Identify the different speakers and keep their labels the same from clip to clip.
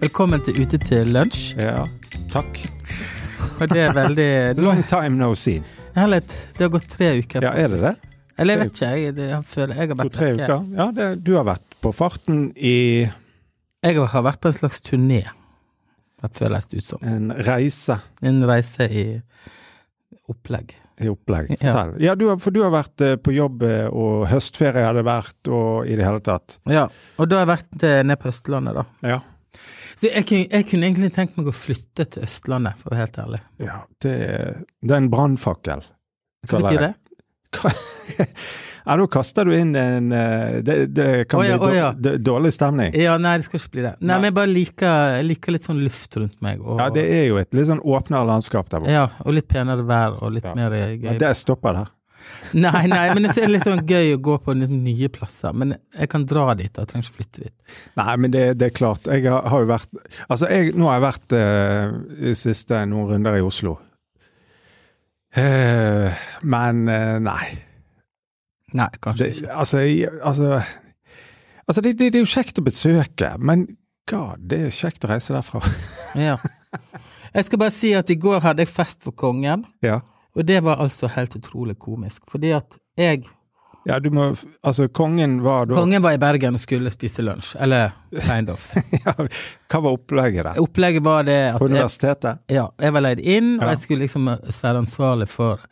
Speaker 1: velkommen til Ute til lunsj.
Speaker 2: Ja, takk.
Speaker 1: Og det er veldig nå,
Speaker 2: Long time no see.
Speaker 1: Herlighet, det har gått tre uker.
Speaker 2: Ja, er det det?
Speaker 1: Eller jeg vet ikke, jeg, det, jeg føler jeg har vært
Speaker 2: To-tre
Speaker 1: vekke.
Speaker 2: uker? Ja, det, du har vært på farten i
Speaker 1: Jeg har vært på en slags turné. Det føles det ut som.
Speaker 2: en reise
Speaker 1: En reise i opplegg.
Speaker 2: i opplegg.
Speaker 1: Ja.
Speaker 2: Fortell. Ja, du har, for du har vært eh, på jobb, eh, og høstferie hadde vært, og i det hele tatt.
Speaker 1: Ja, og da har jeg vært eh, ned på Østlandet, da.
Speaker 2: Ja.
Speaker 1: Så jeg, kunne- jeg kunne egentlig tenkt meg å flytte til Østlandet, for å være helt ærlig.
Speaker 2: ja det, det er en brannfakkel.
Speaker 1: Hva
Speaker 2: føler
Speaker 1: betyr det?
Speaker 2: jeg. Ja, da kaster du inn en eh, Det, det kan
Speaker 1: Å ja,
Speaker 2: bli
Speaker 1: å ja.
Speaker 2: dår- d- dårlig stemning.
Speaker 1: Ja, nei, det skal ikke bli det. Nei,
Speaker 2: Nei.
Speaker 1: men jeg bare liker, jeg liker litt sånn luft rundt meg, og,
Speaker 2: Ja, det er jo et litt sånn åpnere landskap der borte.
Speaker 1: ja, og litt penere vær, og litt
Speaker 2: Ja.
Speaker 1: mer eh, gøy.
Speaker 2: Men Det stopper der.
Speaker 1: Nei, nei, men det er litt sånn gøy å gå på liksom nye plasser. Men jeg kan dra dit, da. jeg trenger ikke flytte dit.
Speaker 2: Nei, men det, det er klart. Jeg har, har jo vært Altså, jeg, nå har jeg vært eh, i siste noen runder i Oslo. Eh, men eh, nei.
Speaker 1: Nei, kanskje
Speaker 2: Det,
Speaker 1: ikke.
Speaker 2: altså, jeg, altså, altså det, det, det er jo kjekt å besøke, men god, det er kjekt å reise derfra.
Speaker 1: Ja. Jeg skal bare si at i går hadde jeg fest for kongen,
Speaker 2: ja.
Speaker 1: og det var altså helt utrolig komisk. Fordi at jeg
Speaker 2: ja, du må Altså, kongen var da
Speaker 1: Kongen var i Bergen og skulle spise lunsj. Eller kind of.
Speaker 2: ja, Hva var opplegget der?
Speaker 1: Opplegget var det at
Speaker 2: På
Speaker 1: jeg,
Speaker 2: universitetet?
Speaker 1: ja, jeg var leid inn, og
Speaker 2: Ja.
Speaker 1: jeg skulle liksom være ansvarlig for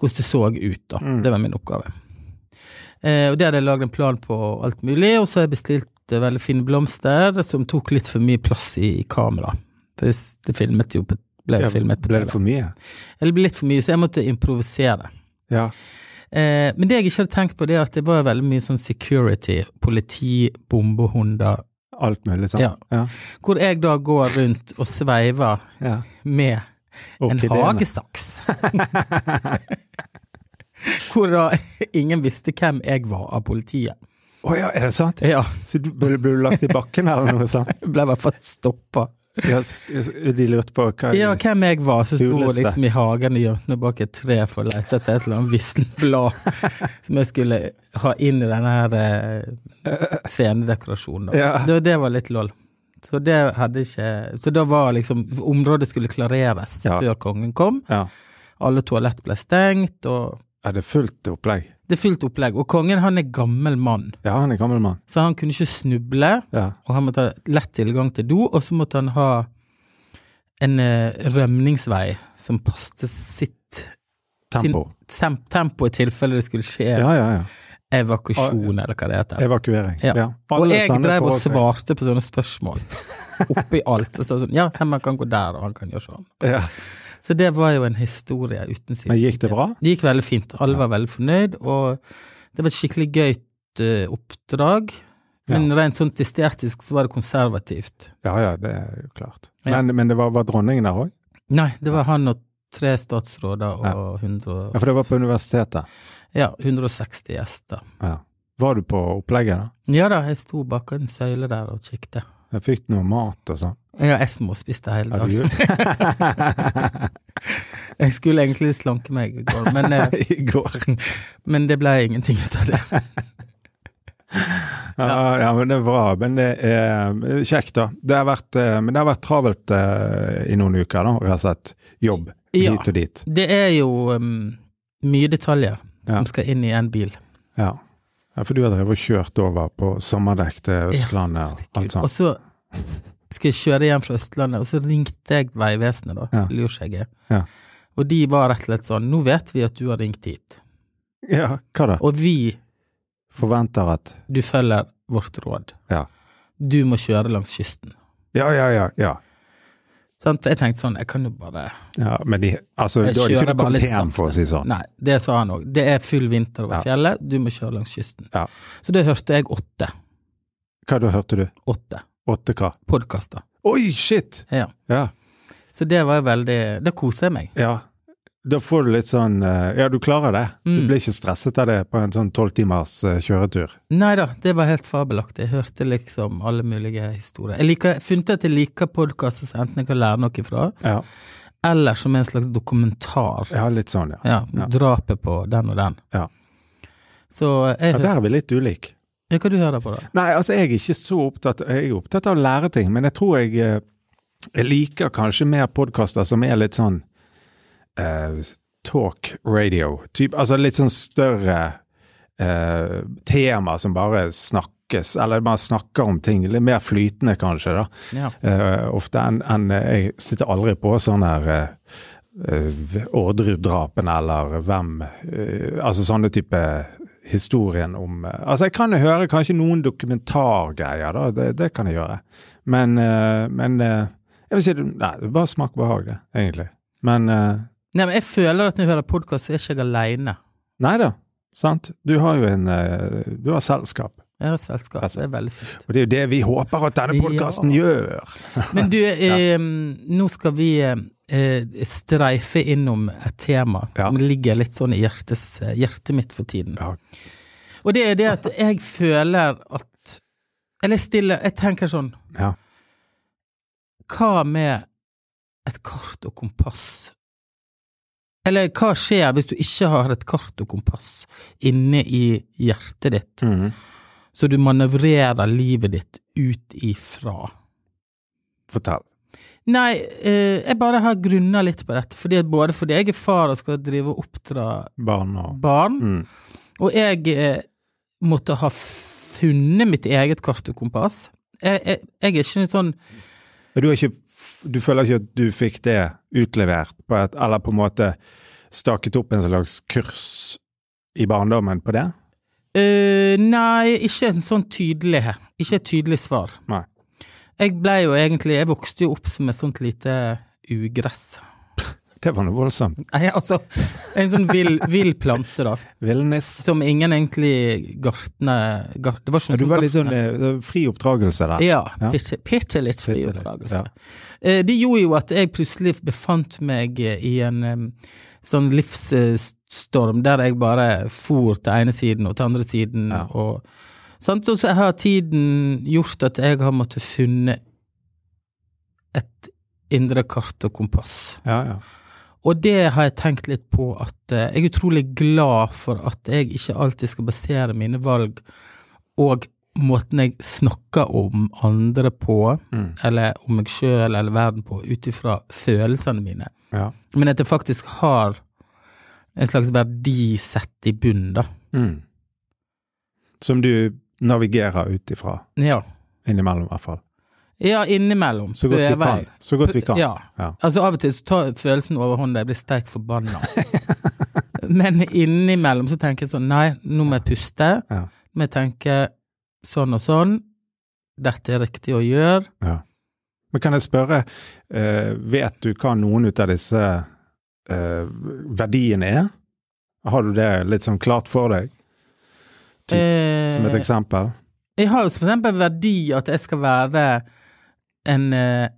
Speaker 1: hvordan det så ut, da.
Speaker 2: Mm.
Speaker 1: Det var min oppgave. Eh, og det hadde jeg lagd en plan på og alt mulig, og så har jeg bestilt eh, veldig fine blomster som tok litt for mye plass i, i kamera. For det, s- det filmet jo på, ble jo
Speaker 2: Ja,
Speaker 1: filmet på
Speaker 2: ble det
Speaker 1: TV.
Speaker 2: for mye?
Speaker 1: Eller det ble litt for mye, så jeg måtte improvisere.
Speaker 2: Ja.
Speaker 1: Eh, men det jeg ikke hadde tenkt på, det er at det var veldig mye sånn security, politi, bombehunder,
Speaker 2: Alt mulig, sant?
Speaker 1: Ja.
Speaker 2: Ja.
Speaker 1: hvor jeg da går rundt og sveiver
Speaker 2: ja.
Speaker 1: med en
Speaker 2: Orkideene.
Speaker 1: hagesaks. Hvor da ingen visste hvem jeg var av politiet.
Speaker 2: Å ja, er det sant?
Speaker 1: Ja,
Speaker 2: Så du ble, ble du lagt i bakken eller noe sånt?
Speaker 1: ble i hvert fall stoppa.
Speaker 2: Ja, s- s- de lurte på hva
Speaker 1: Ja, hvem jeg var, så sto jeg
Speaker 2: Juleliste.
Speaker 1: liksom i hagen og gjemte meg bak et tre for å lete etter et eller annet vissent blad som jeg skulle ha inn i denne her eh, scenedekorasjonen. da.
Speaker 2: Ja.
Speaker 1: Det, det var litt lol. Så det hadde ikke Så da var liksom Området skulle klareres
Speaker 2: Ja.
Speaker 1: før kongen kom.
Speaker 2: Ja.
Speaker 1: Alle toalett ble stengt, og
Speaker 2: Ja, det er fullt opplegg.
Speaker 1: det er fullt opplegg. Og kongen han er gammel mann,
Speaker 2: Ja, han er gammel mann.
Speaker 1: så han kunne ikke snuble.
Speaker 2: Ja.
Speaker 1: Og han måtte ha lett tilgang til do, og så måtte han ha en eh, rømningsvei som passet sitt
Speaker 2: Tempo.
Speaker 1: sin- sem, tempo i tilfelle det skulle skje
Speaker 2: Ja, ja, ja.
Speaker 1: evakuasjon, eller hva det heter.
Speaker 2: Evakuering.
Speaker 1: Ja. Og
Speaker 2: Alle
Speaker 1: jeg
Speaker 2: sånne
Speaker 1: drev og
Speaker 2: forhold-
Speaker 1: svarte på sånne spørsmål oppi alt. Og sa sånn Ja, man kan gå der, og han kan gjøre sånn.
Speaker 2: Ja.
Speaker 1: Så det var jo en historie uten siden.
Speaker 2: Men gikk det bra?
Speaker 1: Det gikk veldig fint. Alle var veldig fornøyd, og det var et skikkelig gøyt eh, oppdrag. Men rent sånn estetisk så var det konservativt.
Speaker 2: Ja, ja, det er jo klart.
Speaker 1: Ja.
Speaker 2: Men, men det var, var dronningen der òg?
Speaker 1: Nei, det var han og tre statsråder og 100,
Speaker 2: Ja, for det var på universitetet.
Speaker 1: ja, 160 gjester.
Speaker 2: Ja. Var du på opplegget, da?
Speaker 1: Ja da, jeg sto bak en søyle der og kikket.
Speaker 2: Jeg fikk noe mat og sånn?
Speaker 1: Ja, jeg småspiste hele
Speaker 2: Ja, du
Speaker 1: dagen.
Speaker 2: gjorde
Speaker 1: Jeg skulle egentlig slanke meg i går, men, eh,
Speaker 2: det i går.
Speaker 1: men det ble ingenting ut av det.
Speaker 2: Ja, ja, men det er bra. Men det er eh, kjekt, da. Det har vært, eh, men det har vært travelt eh, i noen uker, da, rett og slett. Jobb
Speaker 1: Ja.
Speaker 2: hit og dit.
Speaker 1: Det er jo um, mye detaljer som
Speaker 2: Ja.
Speaker 1: skal inn i en bil.
Speaker 2: Ja. ja, for du har drevet og kjørt over på sommerdekk til Østlandet og alt
Speaker 1: Og
Speaker 2: sånt.
Speaker 1: så skal jeg kjøre hjem fra Østlandet, og så ringte jeg Vegvesenet, da.
Speaker 2: Ja.
Speaker 1: Lurskjegget.
Speaker 2: Ja.
Speaker 1: Og de var rett og slett sånn Nå vet vi at du har ringt hit,
Speaker 2: Ja, hva da?
Speaker 1: og vi,
Speaker 2: Forventer at
Speaker 1: du følger vårt råd.
Speaker 2: Ja.
Speaker 1: Du må kjøre langs kysten.
Speaker 2: Ja, ja, ja. ja.
Speaker 1: Sant? For jeg tenkte sånn, jeg kan jo bare
Speaker 2: ja men de, altså,
Speaker 1: Jeg
Speaker 2: da hadde
Speaker 1: kjører
Speaker 2: ikke du
Speaker 1: bare litt
Speaker 2: kommet hjem, for å si sånn.
Speaker 1: Nei, det sa han òg. Det er full vinter over
Speaker 2: Ja.
Speaker 1: fjellet, du må kjøre langs kysten.
Speaker 2: Ja.
Speaker 1: Så det hørte jeg åtte.
Speaker 2: Hva da hørte du?
Speaker 1: Åtte
Speaker 2: Åtte hva?
Speaker 1: podkaster.
Speaker 2: Oi, shit!
Speaker 1: Ja.
Speaker 2: Ja.
Speaker 1: Så det var jo veldig Da koser jeg meg.
Speaker 2: ja. Da får du litt sånn eh, Ja, du klarer det. Du
Speaker 1: Mm.
Speaker 2: blir ikke stresset av det på en sånn tolv timers eh, kjøretur.
Speaker 1: Nei da, det var helt fabelaktig. Jeg hørte liksom alle mulige historier. Jeg liker, funnet at jeg liker podkaster som enten jeg kan lære noe fra,
Speaker 2: Ja,
Speaker 1: eller som en slags dokumentar.
Speaker 2: ja litt sånn, ja.
Speaker 1: Ja,
Speaker 2: Ja.
Speaker 1: Drapet på den og den.
Speaker 2: Ja.
Speaker 1: Så jeg
Speaker 2: ja. Der er vi litt ulike.
Speaker 1: hø- Ja, hva du hører på, da?
Speaker 2: Nei, altså jeg er ikke så opptatt Jeg er opptatt av å lære ting, men jeg tror jeg, eh, jeg liker kanskje mer podkaster som er litt sånn eh, talk radio. Typ, altså litt sånn større eh, tema som bare snakkes, eller man snakker om ting. Litt mer flytende kanskje, da.
Speaker 1: Ja.
Speaker 2: Eh, ofte enn enn, eh, Jeg sitter aldri på sånn her eh, eh, Orderud-drapen eller hvem eh, Altså sånne type historien om eh, Altså, jeg kan jo høre kanskje noen dokumentargreier, da. Det, det kan jeg gjøre. Men, eh, men eh, jeg vil si det- Nei, det er bare smak og behag, det, egentlig. Men eh,
Speaker 1: Nei, men jeg føler at når jeg hører podkast, er ikke jeg aleine.
Speaker 2: Nei da. Sant? Du har jo en eh, Du har selskap.
Speaker 1: Jeg har selskap,
Speaker 2: Altså.
Speaker 1: det er veldig fint.
Speaker 2: Og det er jo det vi håper at denne podkasten gjør.
Speaker 1: Men du, eh, nå skal vi eh, streife innom et tema
Speaker 2: Ja.
Speaker 1: som ligger litt sånn i hjertes, hjertet mitt for tiden.
Speaker 2: Ja.
Speaker 1: Og det er det at jeg føler at Eller jeg stiller Jeg tenker sånn
Speaker 2: Ja.
Speaker 1: Hva med et kart og kompass? Eller hva skjer hvis du ikke har et kart og kompass inne i hjertet ditt,
Speaker 2: Mhm.
Speaker 1: så du manøvrerer livet ditt ut ifra?
Speaker 2: Fortell.
Speaker 1: Nei, eh, jeg bare har grunna litt på dette, fordi, både fordi jeg er far og skal drive og oppdra
Speaker 2: Barn og
Speaker 1: barn,
Speaker 2: Mm.
Speaker 1: og jeg eh, måtte ha funnet mitt eget kart og kompass. Jeg, jeg, jeg er ikke en sånn
Speaker 2: Men Du, er ikke, f- du føler ikke at du fikk det utlevert, på et, eller på en måte staket opp en slags kurs i barndommen på det?
Speaker 1: øh, Nei, ikke en sånn tydelig Ikke et tydelig svar.
Speaker 2: Nei.
Speaker 1: Jeg ble jo egentlig Jeg vokste jo opp som et sånt lite ugress.
Speaker 2: Det var noe voldsomt.
Speaker 1: Nei, altså En sånn vill vill plante, da.
Speaker 2: Villnis.
Speaker 1: Som ingen egentlig gartne gar, Det var ikke
Speaker 2: Ja,
Speaker 1: noe
Speaker 2: Du var litt
Speaker 1: gartne.
Speaker 2: sånn eh, det var fri oppdragelse der.
Speaker 1: Ja,
Speaker 2: Ja.
Speaker 1: bitte- bitte litt fri
Speaker 2: Bitte litt,
Speaker 1: oppdragelse. Eh, Det gjorde jo at jeg plutselig befant meg eh, i en em, sånn livsstorm der jeg bare for til ene siden og til andre siden.
Speaker 2: Ja.
Speaker 1: Og, sant? og så har tiden gjort at jeg har måttet funne et indre kart og kompass.
Speaker 2: Ja, ja.
Speaker 1: Og det har jeg tenkt litt på at eh, jeg er utrolig glad for at jeg ikke alltid skal basere mine valg og måten jeg snakker om andre på,
Speaker 2: Mm.
Speaker 1: eller om meg sjøl eller verden på, ut ifra følelsene mine.
Speaker 2: ja.
Speaker 1: Men at jeg faktisk har en slags verdi sett i bunnen, da.
Speaker 2: Mm. Som du navigerer ut ifra,
Speaker 1: Ja.
Speaker 2: innimellom i hvert fall.
Speaker 1: Ja, innimellom.
Speaker 2: Så godt vi
Speaker 1: prøver
Speaker 2: kan.
Speaker 1: jeg.
Speaker 2: Så godt vi kan.
Speaker 1: Ja.
Speaker 2: Ja.
Speaker 1: Altså, av og til så tar følelsen overhånd, jeg blir sterkt forbanna. Men innimellom så tenker jeg sånn, nei, nå må jeg puste.
Speaker 2: Ja.
Speaker 1: Må jeg tenke sånn og sånn. Dette er riktig å gjøre.
Speaker 2: Men kan jeg spørre, eh, vet du hva noen ut av disse eh, verdiene er? Har du det litt sånn klart for deg, Ty- som et
Speaker 1: Eh,
Speaker 2: eksempel?
Speaker 1: jeg har jo for eksempel verdi at jeg skal være en eh,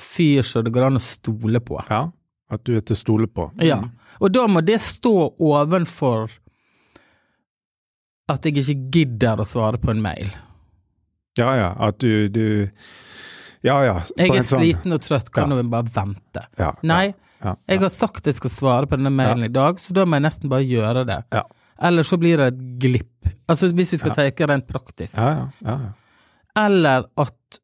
Speaker 1: fyr som det går an å stole på.
Speaker 2: Ja, at du er til å stole på.
Speaker 1: Ja, og da må det stå ovenfor at jeg ikke gidder å svare på en mail.
Speaker 2: Ja, ja, at du, du Ja, ja. på
Speaker 1: Jeg
Speaker 2: en
Speaker 1: er
Speaker 2: sånn-
Speaker 1: sliten og trøtt, kan
Speaker 2: Ja.
Speaker 1: du bare vente?
Speaker 2: Ja,
Speaker 1: Nei,
Speaker 2: Ja,
Speaker 1: jeg har sagt jeg skal svare på denne mailen i dag, så da må jeg nesten bare gjøre det.
Speaker 2: Ja.
Speaker 1: Eller så blir det et glipp. Altså hvis vi skal tenke rent praktisk.
Speaker 2: ja, ja, ja, ja.
Speaker 1: Eller at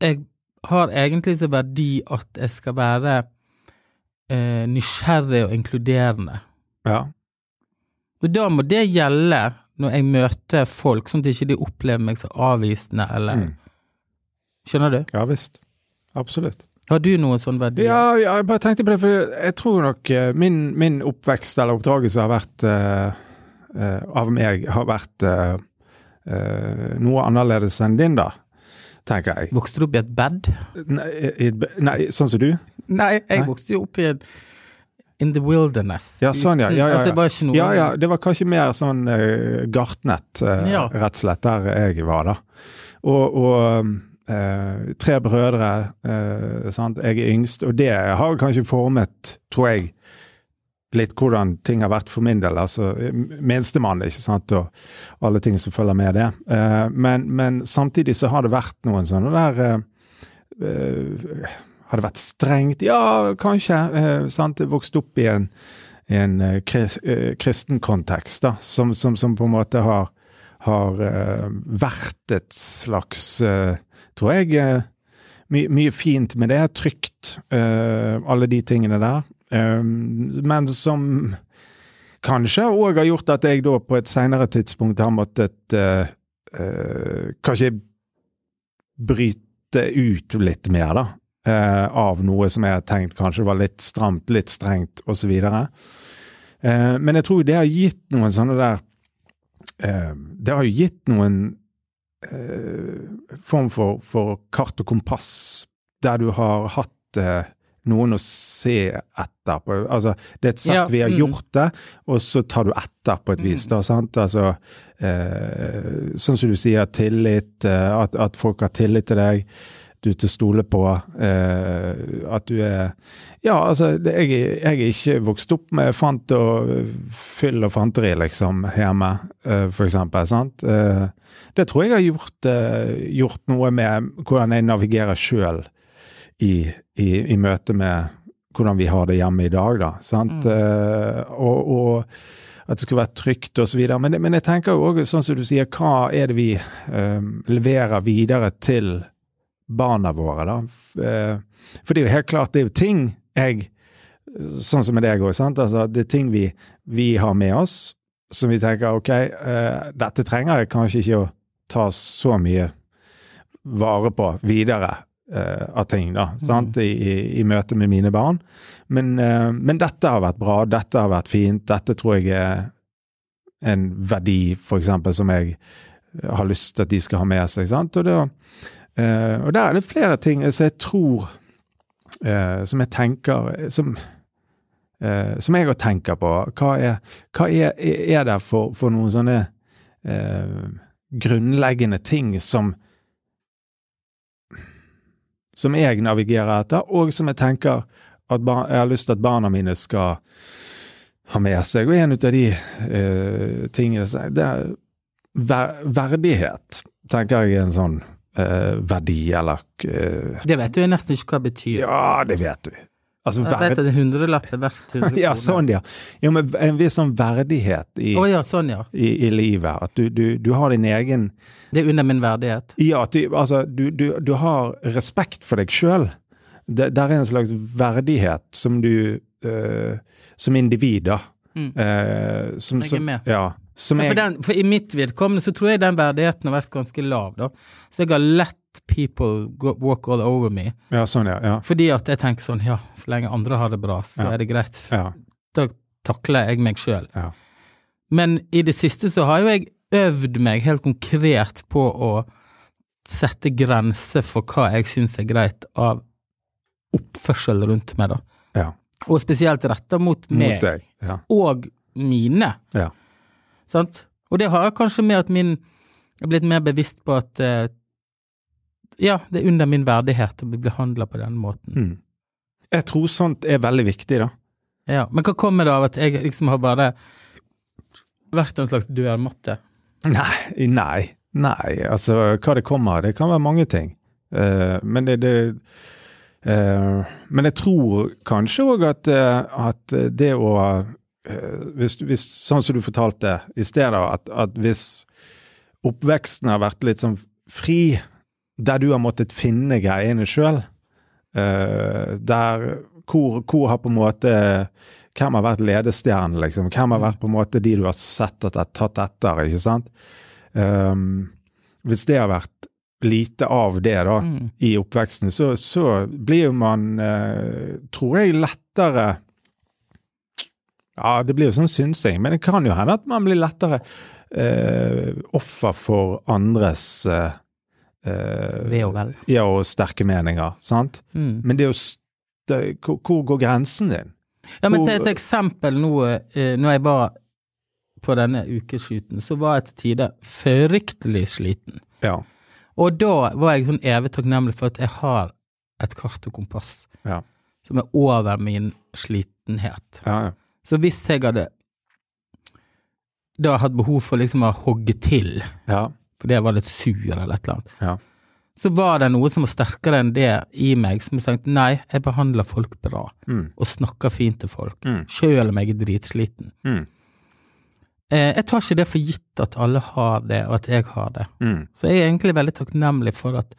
Speaker 1: jeg har egentlig så verdi at jeg skal være eh, nysgjerrig og inkluderende.
Speaker 2: ja.
Speaker 1: Og da må det gjelde når jeg møter folk, sånn at ikke de opplever meg så avvisende, eller
Speaker 2: Mm.
Speaker 1: Skjønner du?
Speaker 2: ja visst. Absolutt.
Speaker 1: Har du noen sånn verdi?
Speaker 2: Ja, ja, jeg bare tenkte på det, for jeg tror nok eh, min, min oppvekst eller oppdragelse har vært eh, eh, Av meg har vært eh, eh, noe annerledes enn din, da, tenker jeg.
Speaker 1: Vokste du opp i et bed?
Speaker 2: Nei, i- i- nei sånn som du?
Speaker 1: Nei, jeg
Speaker 2: Nei.
Speaker 1: vokste jo opp i en In the wilderness.
Speaker 2: Ja, sånn, ja. Ja, ja,
Speaker 1: Altså, det var ikke noe
Speaker 2: Ja, ja, det var kanskje mer sånn eh, gartnet, eh,
Speaker 1: Ja.
Speaker 2: rett og slett, der jeg var, da. Og, og eh, tre brødre, eh, sant? jeg er yngst, og det har kanskje formet, tror jeg, litt hvordan ting har vært for min del. Altså eh, minstemann, ikke sant, og alle ting som følger med det. Eh, men, men samtidig så har det vært noen sånne der eh, eh, Har det vært strengt? Ja, kanskje. eh, sant? Jeg vokste opp i en i en eh, kris- eh, kristen kontekst, da, som, som, som på en måte har, har eh, vært et slags, eh, tror jeg, eh, my, mye fint med det. Trygt, eh, alle de tingene der. Eh, men som kanskje òg har gjort at jeg da på et seinere tidspunkt har måttet eh, eh, Kanskje bryte ut litt mer, da. eh, av noe som jeg har tenkt kanskje var litt stramt, litt strengt, osv. Eh, men jeg tror det har gitt noen sånne der eh, Det har jo gitt noen eh, form for, for kart og kompass der du har hatt eh, noen å se etter. På. Altså, det er et sett
Speaker 1: Ja,
Speaker 2: vi har
Speaker 1: mm.
Speaker 2: gjort det, og så tar du etter på et vis. Da, sant? Altså, eh, sånn som du sier, tillit, eh, at, at folk har tillit til deg. Du er til å stole på. Eh, at du er Ja, altså, det, jeg, jeg er ikke vokst opp med fant og fyll og fanteri, liksom, hjemme, eh, for eksempel. Sant? Eh, det tror jeg har gjort, eh, gjort noe med hvordan jeg navigerer sjøl i, i, i møte med hvordan vi har det hjemme i dag, da. Sant? Eh, og, og at det skulle være trygt og så videre. Men, men jeg tenker jo òg, sånn som du sier, hva er det vi eh, leverer videre til barna våre, da? F- eh, for det er jo helt klart, det er jo ting jeg Sånn som med deg òg, sant. Altså, det er ting vi, vi har med oss som vi tenker ok, eh, dette trenger jeg kanskje ikke å ta så mye vare på videre eh, av ting, da, sant? I, i, i møte med mine barn. Men, eh, men dette har vært bra, dette har vært fint, dette tror jeg er en verdi, for eksempel, som jeg har lyst til at de skal ha med seg, sant? Og, da, eh, og der er det flere ting som jeg tror eh, Som jeg tenker Som, eh, som jeg òg tenker på. Hva er, hva er, er det for, for noen sånne eh, grunnleggende ting som som jeg navigerer etter, og som jeg tenker at bar, jeg har lyst til at barna mine skal ha med seg. Og en ut av de eh, tingene som- det er ver verdighet, tenker jeg er en sånn eh, verdi, eller eh,
Speaker 1: Det vet jo jeg nesten ikke hva det betyr.
Speaker 2: Ja, det vet du. Altså,
Speaker 1: jeg vet
Speaker 2: verdighet
Speaker 1: at en hundrelapp er verdt 100 kroner.
Speaker 2: Ja, sånn, ja. Jo, men en viss sånn verdighet i,
Speaker 1: Å ja, sånn ja.
Speaker 2: i, i livet. At du, du, du har din egen
Speaker 1: Det er under min verdighet.
Speaker 2: Ja, at du, altså, du, du, du har respekt for deg sjøl. Der er en slags verdighet som du eh, Som individ, da.
Speaker 1: Mm.
Speaker 2: Eh, som,
Speaker 1: Jeg er
Speaker 2: som-
Speaker 1: med.
Speaker 2: Ja, som
Speaker 1: Ja,
Speaker 2: jeg,
Speaker 1: for, den, for I mitt vedkommende så tror jeg den verdigheten har vært ganske lav, da. Så jeg har lett people go, walk all over me.
Speaker 2: ja, sånn, ja. ja,
Speaker 1: Fordi at jeg tenker sånn, ja, så lenge andre har det bra, så
Speaker 2: Ja.
Speaker 1: er det greit.
Speaker 2: ja.
Speaker 1: Da takler jeg meg sjøl.
Speaker 2: Ja.
Speaker 1: Men i det siste så har jo jeg øvd meg helt konkret på å sette grenser for hva jeg syns er greit av oppførsel rundt meg, da.
Speaker 2: ja.
Speaker 1: Og spesielt retta mot
Speaker 2: Mot
Speaker 1: meg
Speaker 2: deg. Ja.
Speaker 1: og mine.
Speaker 2: Ja.
Speaker 1: Sant? Og det har kanskje med at min Jeg er blitt mer bevisst på at eh, ja, det er under min verdighet å bli behandla på den måten.
Speaker 2: Mm. Jeg tror sånt er veldig viktig, da.
Speaker 1: Ja, Men hva kommer det av at jeg liksom har bare vært en slags dørmatte?
Speaker 2: Nei, nei, nei. Altså, hva det kommer av, det kan være mange ting. Eh, men det, det eh, Men jeg tror kanskje òg at, eh, at det å eh, hvis, hvis, Sånn som du fortalte i sted, da, at, at hvis oppveksten har vært litt sånn fri, der du har måttet finne greiene sjøl, der hvor, hvor har på en måte Hvem har vært ledestjernen, liksom? Hvem har vært på en måte de du har sett at er tatt etter, ikke sant? Ehm, hvis det har vært lite av det da,
Speaker 1: Mm.
Speaker 2: i oppveksten, så, så blir jo man, eh, tror jeg, lettere Ja, det blir jo sånn synsing, men det kan jo hende at man blir lettere eh, offer for andres eh, eh,
Speaker 1: Ve og vel.
Speaker 2: ja, og sterke meninger, sant?
Speaker 1: Mm.
Speaker 2: Men det er jo st- det- hvor, hvor går grensen din?
Speaker 1: Ja, men
Speaker 2: Hvor-
Speaker 1: til et eksempel nå, eh, når jeg var på denne ukeskyten, så var jeg til tider fryktelig sliten.
Speaker 2: Ja.
Speaker 1: Og da var jeg sånn evig takknemlig for at jeg har et kart og kompass
Speaker 2: Ja.
Speaker 1: som er over min slitenhet.
Speaker 2: Ja, ja.
Speaker 1: Så hvis jeg hadde da hatt behov for liksom å hogge til,
Speaker 2: ja.
Speaker 1: fordi jeg var litt sur eller et eller annet,
Speaker 2: Ja.
Speaker 1: så var det noe som var sterkere enn det i meg, som tenkte nei, jeg behandler folk bra,
Speaker 2: Mm.
Speaker 1: og snakker fint til folk,
Speaker 2: Mm.
Speaker 1: sjøl om jeg er dritsliten.
Speaker 2: Mm.
Speaker 1: Eh, Jeg tar ikke det for gitt at alle har det, og at jeg har det.
Speaker 2: Mm.
Speaker 1: Så jeg er egentlig veldig takknemlig for at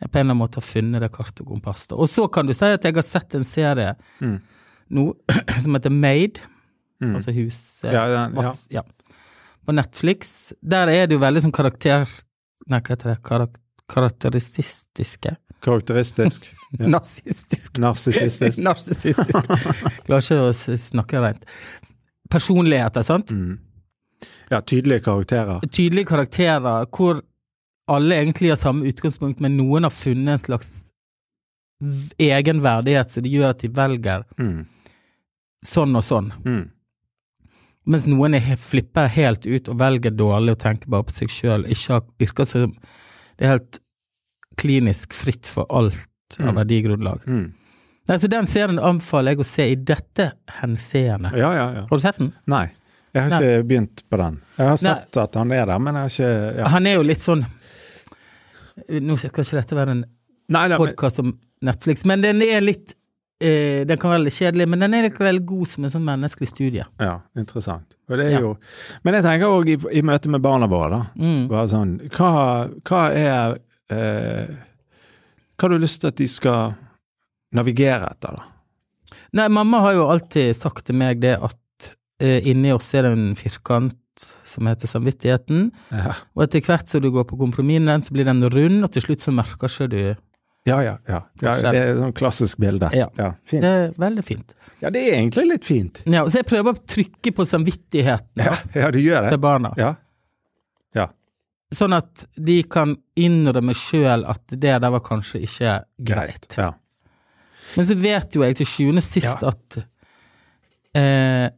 Speaker 1: jeg på en eller annen måte har funnet det kartet og kompasset. Og så kan du si at jeg har sett en serie
Speaker 2: Mm.
Speaker 1: nå som heter Made,
Speaker 2: Mm.
Speaker 1: altså huset
Speaker 2: Ja, ja, ja.
Speaker 1: mass- ja. På Netflix. Der er det jo veldig sånn karakter... Nei, hva heter det? Karak karakteristiske?
Speaker 2: Karakteristisk. Ja.
Speaker 1: Nazistiske?
Speaker 2: Narsissistisk.
Speaker 1: Narsissistisk. Klarer ikke å s- snakke rent. Personligheter, sant?
Speaker 2: Mm. Ja, tydelige karakterer.
Speaker 1: tydelige karakterer hvor alle egentlig har samme utgangspunkt, men noen har funnet en slags v- egen verdighet, så det gjør at de velger
Speaker 2: Mm.
Speaker 1: sånn og sånn.
Speaker 2: Mm.
Speaker 1: Mens noen er, he- flipper helt ut og velger dårlig og tenker bare på seg sjøl. Virker som det er helt klinisk fritt for alt av
Speaker 2: Mm.
Speaker 1: verdigrunnlag.
Speaker 2: Mm.
Speaker 1: Nei, så den serien anbefaler jeg å se i dette henseende.
Speaker 2: Ja, ja, ja.
Speaker 1: Har du sett den?
Speaker 2: Nei. Jeg har ikke begynt på den. Jeg har sett at han er der, men jeg har ikke ja.
Speaker 1: Han er jo litt sånn Nå skal ikke dette være en
Speaker 2: Nei, da, men,
Speaker 1: podkast om Netflix. Men den er litt eh, Den kan være litt kjedelig, men den er likevel god som en sånn menneskelig studie.
Speaker 2: ja, interessant. Og det
Speaker 1: Ja.
Speaker 2: er jo Men jeg tenker òg i, i møte med barna våre, da.
Speaker 1: Mm.
Speaker 2: Bare sånn Hva, hva er eh, Hva har du lyst til at de skal navigere etter, da?
Speaker 1: Nei, mamma har jo alltid sagt til meg det at eh, inni oss er det en firkant som heter samvittigheten,
Speaker 2: Ja,
Speaker 1: og etter hvert som du går på kompromiss med den, så blir den rund, og til slutt så merker ikke du
Speaker 2: ja. ja, ja. ja det er et sånt klassisk bilde.
Speaker 1: Ja.
Speaker 2: fint.
Speaker 1: Det er veldig fint.
Speaker 2: ja, det er egentlig litt fint.
Speaker 1: Ja, så jeg prøver å trykke på samvittigheten
Speaker 2: Ja, ja du gjør det.
Speaker 1: til barna,
Speaker 2: Ja. ja.
Speaker 1: sånn at de kan innrømme sjøl at det der var kanskje ikke greit.
Speaker 2: Ja.
Speaker 1: Men så vet jo jeg til sjuende og sist at eh,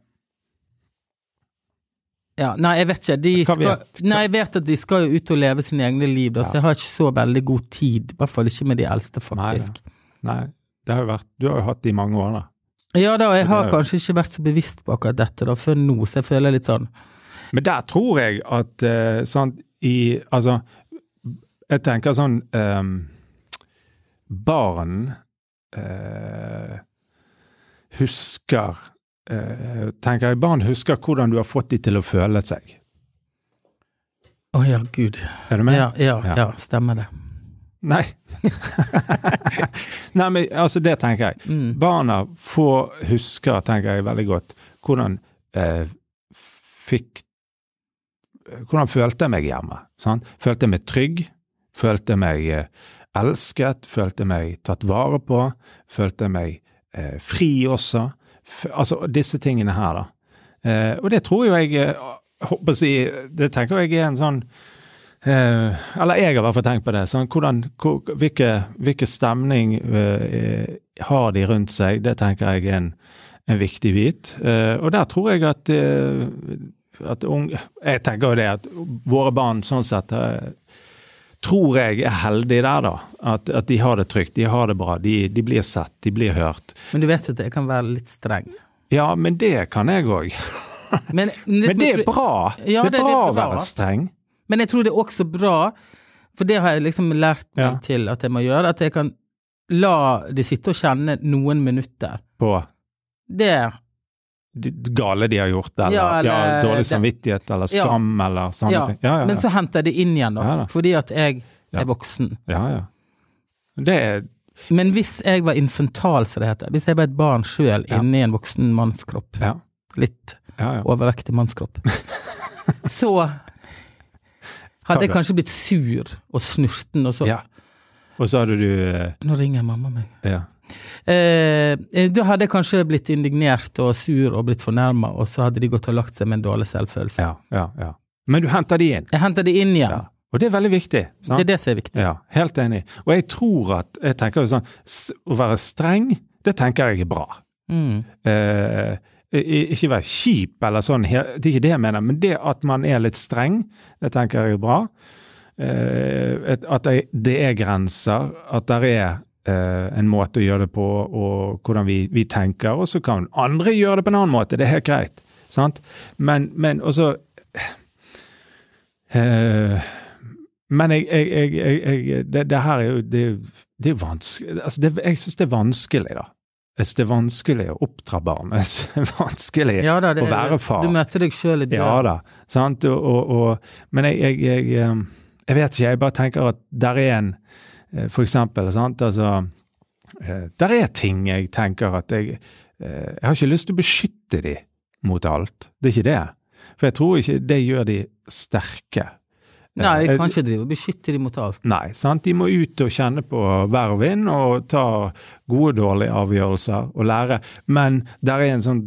Speaker 1: ja, Nei, jeg vet ikke. De
Speaker 2: Hva
Speaker 1: skal,
Speaker 2: vet-
Speaker 1: Nei, jeg vet at de skal jo ut og leve sine egne liv, da, så jeg har ikke så veldig god tid. I hvert fall ikke med de eldste,
Speaker 2: Nei,
Speaker 1: faktisk.
Speaker 2: Nei, det har jo vært Du har jo hatt det i mange år, da.
Speaker 1: ja da, jeg
Speaker 2: Det
Speaker 1: har
Speaker 2: er jo-
Speaker 1: kanskje ikke vært så bevisst på akkurat dette da, før nå, så jeg føler litt sånn
Speaker 2: Men der tror jeg at eh, sånn i Altså, jeg tenker sånn ehm, Barn eh, husker eh, Tenker jeg barn husker hvordan du har fått de til å føle seg.
Speaker 1: Å ja, gud.
Speaker 2: Er du med?
Speaker 1: Ja, ja,
Speaker 2: Ja.
Speaker 1: ja, stemmer det.
Speaker 2: Nei. Nei, men altså, det tenker jeg.
Speaker 1: Mm.
Speaker 2: Barna får husker, tenker jeg, veldig godt hvordan eh, fikk eh, Hvordan følte jeg meg hjemme? Sant? Følte jeg meg trygg? Følte jeg meg eh, elsket? Følte jeg meg tatt vare på? Følte jeg meg eh, fri også? F altså disse tingene her, da. Eh, og det tror jo jeg eh, håper å si, Det tenker jeg er en sånn Eh, eller jeg har i hvert fall tenkt på det. Sånn, hvordan, hvor, hvilke, hvilke stemning eh, har de rundt seg? Det tenker jeg er en, en viktig bit. Eh, og der tror jeg at, eh, at unge Jeg tenker jo det at våre barn sånn sett eh, tror jeg er heldige der, da. At, at de har det trygt, de har det bra. De, de blir sett, de blir hørt.
Speaker 1: Men du vet jo at jeg kan være litt streng.
Speaker 2: Ja, men det kan jeg òg.
Speaker 1: Men,
Speaker 2: Men det er bra.
Speaker 1: Ja,
Speaker 2: det
Speaker 1: det er
Speaker 2: er bra å
Speaker 1: litt bra,
Speaker 2: være
Speaker 1: da.
Speaker 2: streng.
Speaker 1: Men jeg tror det er også bra, for det har jeg liksom lært meg
Speaker 2: Ja.
Speaker 1: til at jeg må gjøre, at jeg kan la de sitte og kjenne noen minutter.
Speaker 2: på
Speaker 1: Det
Speaker 2: de- gale de har gjort, eller,
Speaker 1: Ja,
Speaker 2: ja,
Speaker 1: eller- det-
Speaker 2: dårlig samvittighet, eller skam, eller sånne
Speaker 1: Ja,
Speaker 2: ting. Ja, ja,
Speaker 1: Men
Speaker 2: ja.
Speaker 1: så henter jeg det inn igjen, da,
Speaker 2: Ja da.
Speaker 1: fordi at jeg
Speaker 2: Ja.
Speaker 1: er voksen.
Speaker 2: ja, ja. Det er
Speaker 1: Men hvis jeg var infantal, som det heter, hvis jeg var et barn sjøl
Speaker 2: Ja.
Speaker 1: inni en voksen mannskropp,
Speaker 2: Ja,
Speaker 1: litt
Speaker 2: ja. ja.
Speaker 1: overvektig mannskropp, så
Speaker 2: Kan
Speaker 1: hadde jeg
Speaker 2: du?
Speaker 1: kanskje blitt sur og snurten, og så
Speaker 2: ja. Og så hadde du eh,
Speaker 1: Nå ringer mamma meg.
Speaker 2: ja.
Speaker 1: Eh, da hadde jeg kanskje blitt indignert og sur og blitt fornærma, og så hadde de gått og lagt seg med en dårlig selvfølelse.
Speaker 2: ja, ja, ja. Men du henter de inn.
Speaker 1: Jeg henter det inn igjen.
Speaker 2: Ja. Og det er veldig viktig. Sant?
Speaker 1: Det er det som er viktig.
Speaker 2: Ja, helt enig. Og jeg tror at jeg tenker jo sånn, s- Å være streng, det tenker jeg er bra.
Speaker 1: Mm.
Speaker 2: eh, i- ikke være kjip eller sånn, he- det er ikke det jeg mener, men det at man er litt streng, det tenker jeg er bra. Eh, et- at det, det er grenser, at det er eh, en måte å gjøre det på, og hvordan vi, vi tenker, og så kan andre gjøre det på en annen måte, det er helt greit. Sant? Men, men også eh, men jeg, jeg, jeg, jeg, jeg det, det her er jo Det, det er vanskelig altså det, Jeg syns det er vanskelig, da. Jeg synes det er vanskelig å oppdra barn. Jeg synes det er vanskelig
Speaker 1: Ja da, det
Speaker 2: å
Speaker 1: er-
Speaker 2: være far.
Speaker 1: Du møtte deg sjøl i
Speaker 2: Ja
Speaker 1: døren.
Speaker 2: da. Sant? Og, og, og, men jeg, jeg, jeg, eh, jeg vet ikke, jeg bare tenker at der er en eh, For eksempel, sant, altså eh, Der er ting jeg tenker at jeg eh, Jeg har ikke lyst til å beskytte de mot alt. Det er ikke det. For jeg tror ikke det gjør de sterke.
Speaker 1: Nei,
Speaker 2: Eh,
Speaker 1: jeg kan ikke drive og beskytte dem mot alt.
Speaker 2: Nei, sant? de må ut og kjenne på vær og vind og ta gode og dårlige avgjørelser og lære. Men der er en sånn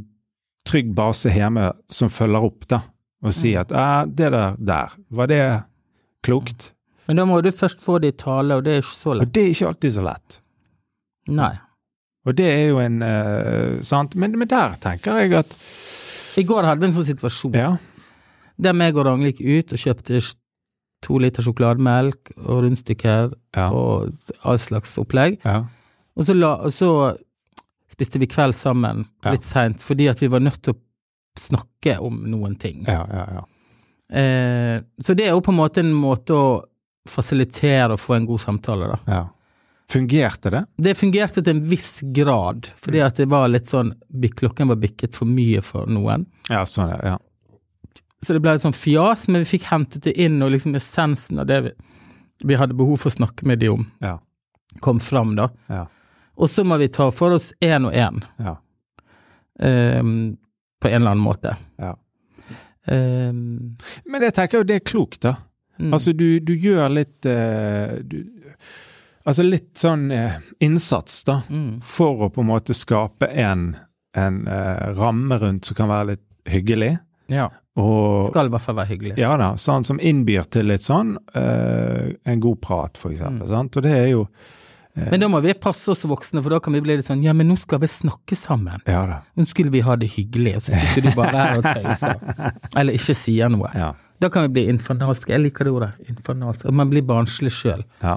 Speaker 2: trygg base hjemme som følger opp da, og sier at eh, det der, der, var det klokt?
Speaker 1: Men da må du først få det i tale, og det er ikke så
Speaker 2: Og
Speaker 1: lett.
Speaker 2: det er ikke alltid så lett.
Speaker 1: Nei.
Speaker 2: Og det er jo en eh, sant? Men, men der tenker jeg at
Speaker 1: I går hadde vi en sånn situasjon.
Speaker 2: ja,
Speaker 1: Der meg og Ragnhild gikk ut og kjøpte sj- to liter sjokolademelk og rundstykker
Speaker 2: ja,
Speaker 1: og all slags opplegg.
Speaker 2: ja,
Speaker 1: Og så, la, og så spiste vi kveld sammen
Speaker 2: Ja.
Speaker 1: litt seint fordi at vi var nødt til å snakke om noen ting.
Speaker 2: ja, ja, ja.
Speaker 1: Eh, så det er jo på en måte en måte å fasilitere og få en god samtale, da.
Speaker 2: ja. Fungerte det?
Speaker 1: Det fungerte til en viss grad,
Speaker 2: Mm.
Speaker 1: fordi at det var litt sånn bik- Klokken var bikket for mye for noen.
Speaker 2: Ja, sånn ja, ja.
Speaker 1: Så det ble litt sånn fjas, men vi fikk hentet det inn, og liksom essensen av det vi, vi hadde behov for å snakke med de om,
Speaker 2: Ja,
Speaker 1: kom fram, da.
Speaker 2: ja,
Speaker 1: Og så må vi ta for oss én og én,
Speaker 2: ja,
Speaker 1: ehm, på en eller annen måte.
Speaker 2: ja.
Speaker 1: Ehm,
Speaker 2: Men jeg tenker jo det er klokt da.
Speaker 1: mm.
Speaker 2: Altså, du, du gjør litt eh, du, Altså litt sånn eh, innsats, da,
Speaker 1: Mm.
Speaker 2: for å på en måte skape en, en eh, ramme rundt som kan være litt hyggelig.
Speaker 1: ja.
Speaker 2: Og
Speaker 1: Skal i hvert fall være hyggelig.
Speaker 2: ja da, sånn som innbyr til litt sånn eh, en god prat, for eksempel.
Speaker 1: Mm.
Speaker 2: Sant? Og det er jo
Speaker 1: Men da må vi passe oss voksne, for da kan vi bli litt sånn Ja, men nå skal vi snakke sammen.
Speaker 2: Ja da.
Speaker 1: Nå skulle vi ha det hyggelig, og så sitter du bare der og tøyser. Eller ikke sier noe.
Speaker 2: Ja.
Speaker 1: Da kan vi bli infernalske. Jeg liker det ordet. Infernalske. Og Man blir barnslig sjøl.
Speaker 2: ja,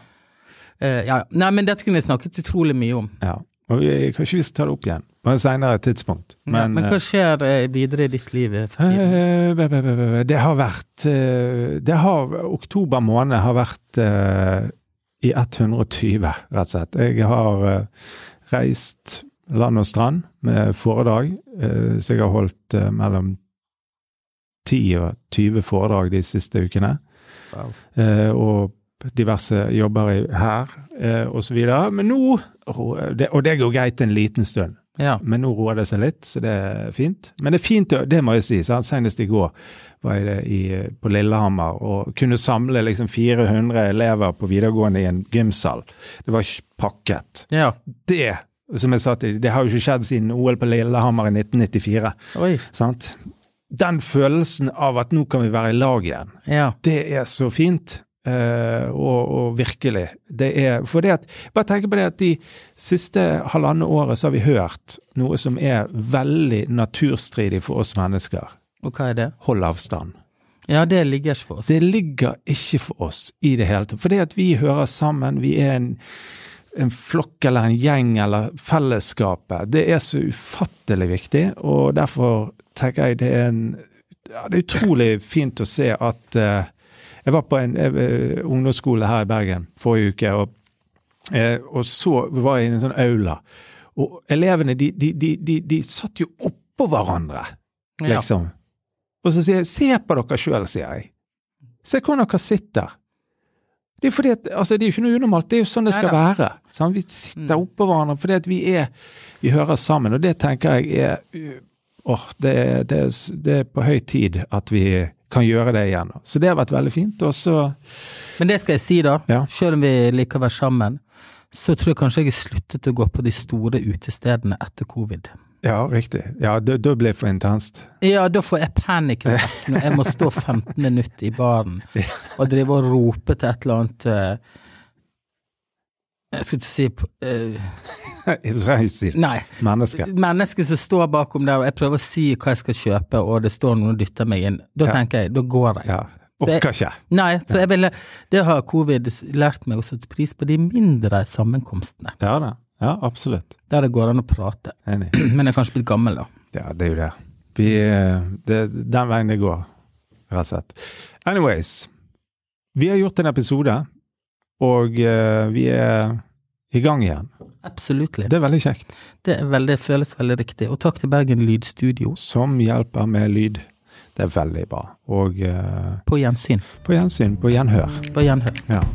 Speaker 1: Eh, ja. Nei, men dette kunne jeg snakket utrolig mye om.
Speaker 2: ja. Og vi, kanskje vi skal ta det opp igjen på et seinere tidspunkt.
Speaker 1: Men, ja,
Speaker 2: Men,
Speaker 1: men
Speaker 2: eh,
Speaker 1: hva skjer eh, videre i ditt liv? eh, for tiden?
Speaker 2: Eh, be- be- be- be- Det har vært eh, det har, Oktober måned har vært eh, i 120, rett og slett. Jeg har eh, reist land og strand med foredrag, eh, så jeg har holdt eh, mellom 10 og 20 foredrag de siste ukene. eh, Og diverse jobber i- her eh, og så videre. Men nå ro- det- Og det går greit en liten stund.
Speaker 1: Ja.
Speaker 2: Men nå roer det seg litt, så det er fint. Men det er fint, det må jeg si. Sant? Senest i går var jeg det i, på Lillehammer og kunne samle liksom 400 elever på videregående i en gymsal. Det var ikke pakket.
Speaker 1: ja.
Speaker 2: Det som jeg sa til det har jo ikke skjedd siden OL på Lillehammer i 1994.
Speaker 1: Oi.
Speaker 2: Sant? Den følelsen av at nå kan vi være i lag igjen,
Speaker 1: Ja.
Speaker 2: det er så fint. eh, og, og virkelig. Det er For det at Bare tenk på det at de siste halvannet året så har vi hørt noe som er veldig naturstridig for oss mennesker.
Speaker 1: Og hva er det?
Speaker 2: Hold avstand.
Speaker 1: Ja, det ligger ikke for oss.
Speaker 2: Det ligger ikke for oss i det hele tatt. For det at vi hører sammen, vi er en, en flokk eller en gjeng eller fellesskapet, det er så ufattelig viktig. Og derfor tenker jeg det er en ja, Det er utrolig fint å se at eh, Jeg var på en eh, ungdomsskole her i Bergen forrige uke, og, eh, og så var jeg i en sånn aula. Og elevene, de, de, de, de, de satt jo oppå hverandre
Speaker 1: Ja.
Speaker 2: liksom. Og så sier jeg, se på dere sjøl, sier jeg. Se hvordan dere sitter. Det er, fordi at, altså, det er jo ikke noe unormalt, det er jo sånn det skal
Speaker 1: Neida. Mm.
Speaker 2: være. Sant? Vi sitter oppå hverandre fordi at vi er Vi hører sammen, og det tenker jeg er uh, åh, det, er- det, er s- det er på høy tid at vi kan gjøre det igjen. Så det har vært veldig fint. Og så
Speaker 1: Men det skal jeg si, da.
Speaker 2: Ja.
Speaker 1: Selv om vi liker å være sammen, så tror jeg kanskje jeg har sluttet å gå på de store utestedene etter covid.
Speaker 2: Ja, riktig. Ja, da da ble det for intenst.
Speaker 1: Ja, da får jeg panikk når jeg må stå 15 minutter i baren og drive og rope til et eller annet eh, Jeg skulle ikke si p- eh,
Speaker 2: Israelsk side.
Speaker 1: Nei.
Speaker 2: Menneske.
Speaker 1: Mennesket som står bakom der, og jeg prøver å si hva jeg skal kjøpe, og det står noen og dytter meg inn. Da tenker jeg, da går jeg.
Speaker 2: Ja. Orker ikke.
Speaker 1: Nei, så jeg ville Det har covid lært meg å sette pris på de mindre sammenkomstene,
Speaker 2: Ja da. Ja, absolutt.
Speaker 1: der det går an å prate.
Speaker 2: Enig.
Speaker 1: Men jeg er kanskje blitt gammel, da.
Speaker 2: Ja, det er jo det. Vi, eh, det den veien det går, rett og slett. Anyways, vi har gjort en episode, og eh, vi er i gang igjen.
Speaker 1: Absolutt.
Speaker 2: Det er veldig kjekt.
Speaker 1: Det, er veldig, føles veldig riktig. Og takk til Bergen Lydstudio.
Speaker 2: Som hjelper med lyd. Det er veldig bra. Og eh,
Speaker 1: På gjensyn.
Speaker 2: på gjensyn, på gjenhør.
Speaker 1: På gjenhør.
Speaker 2: Ja.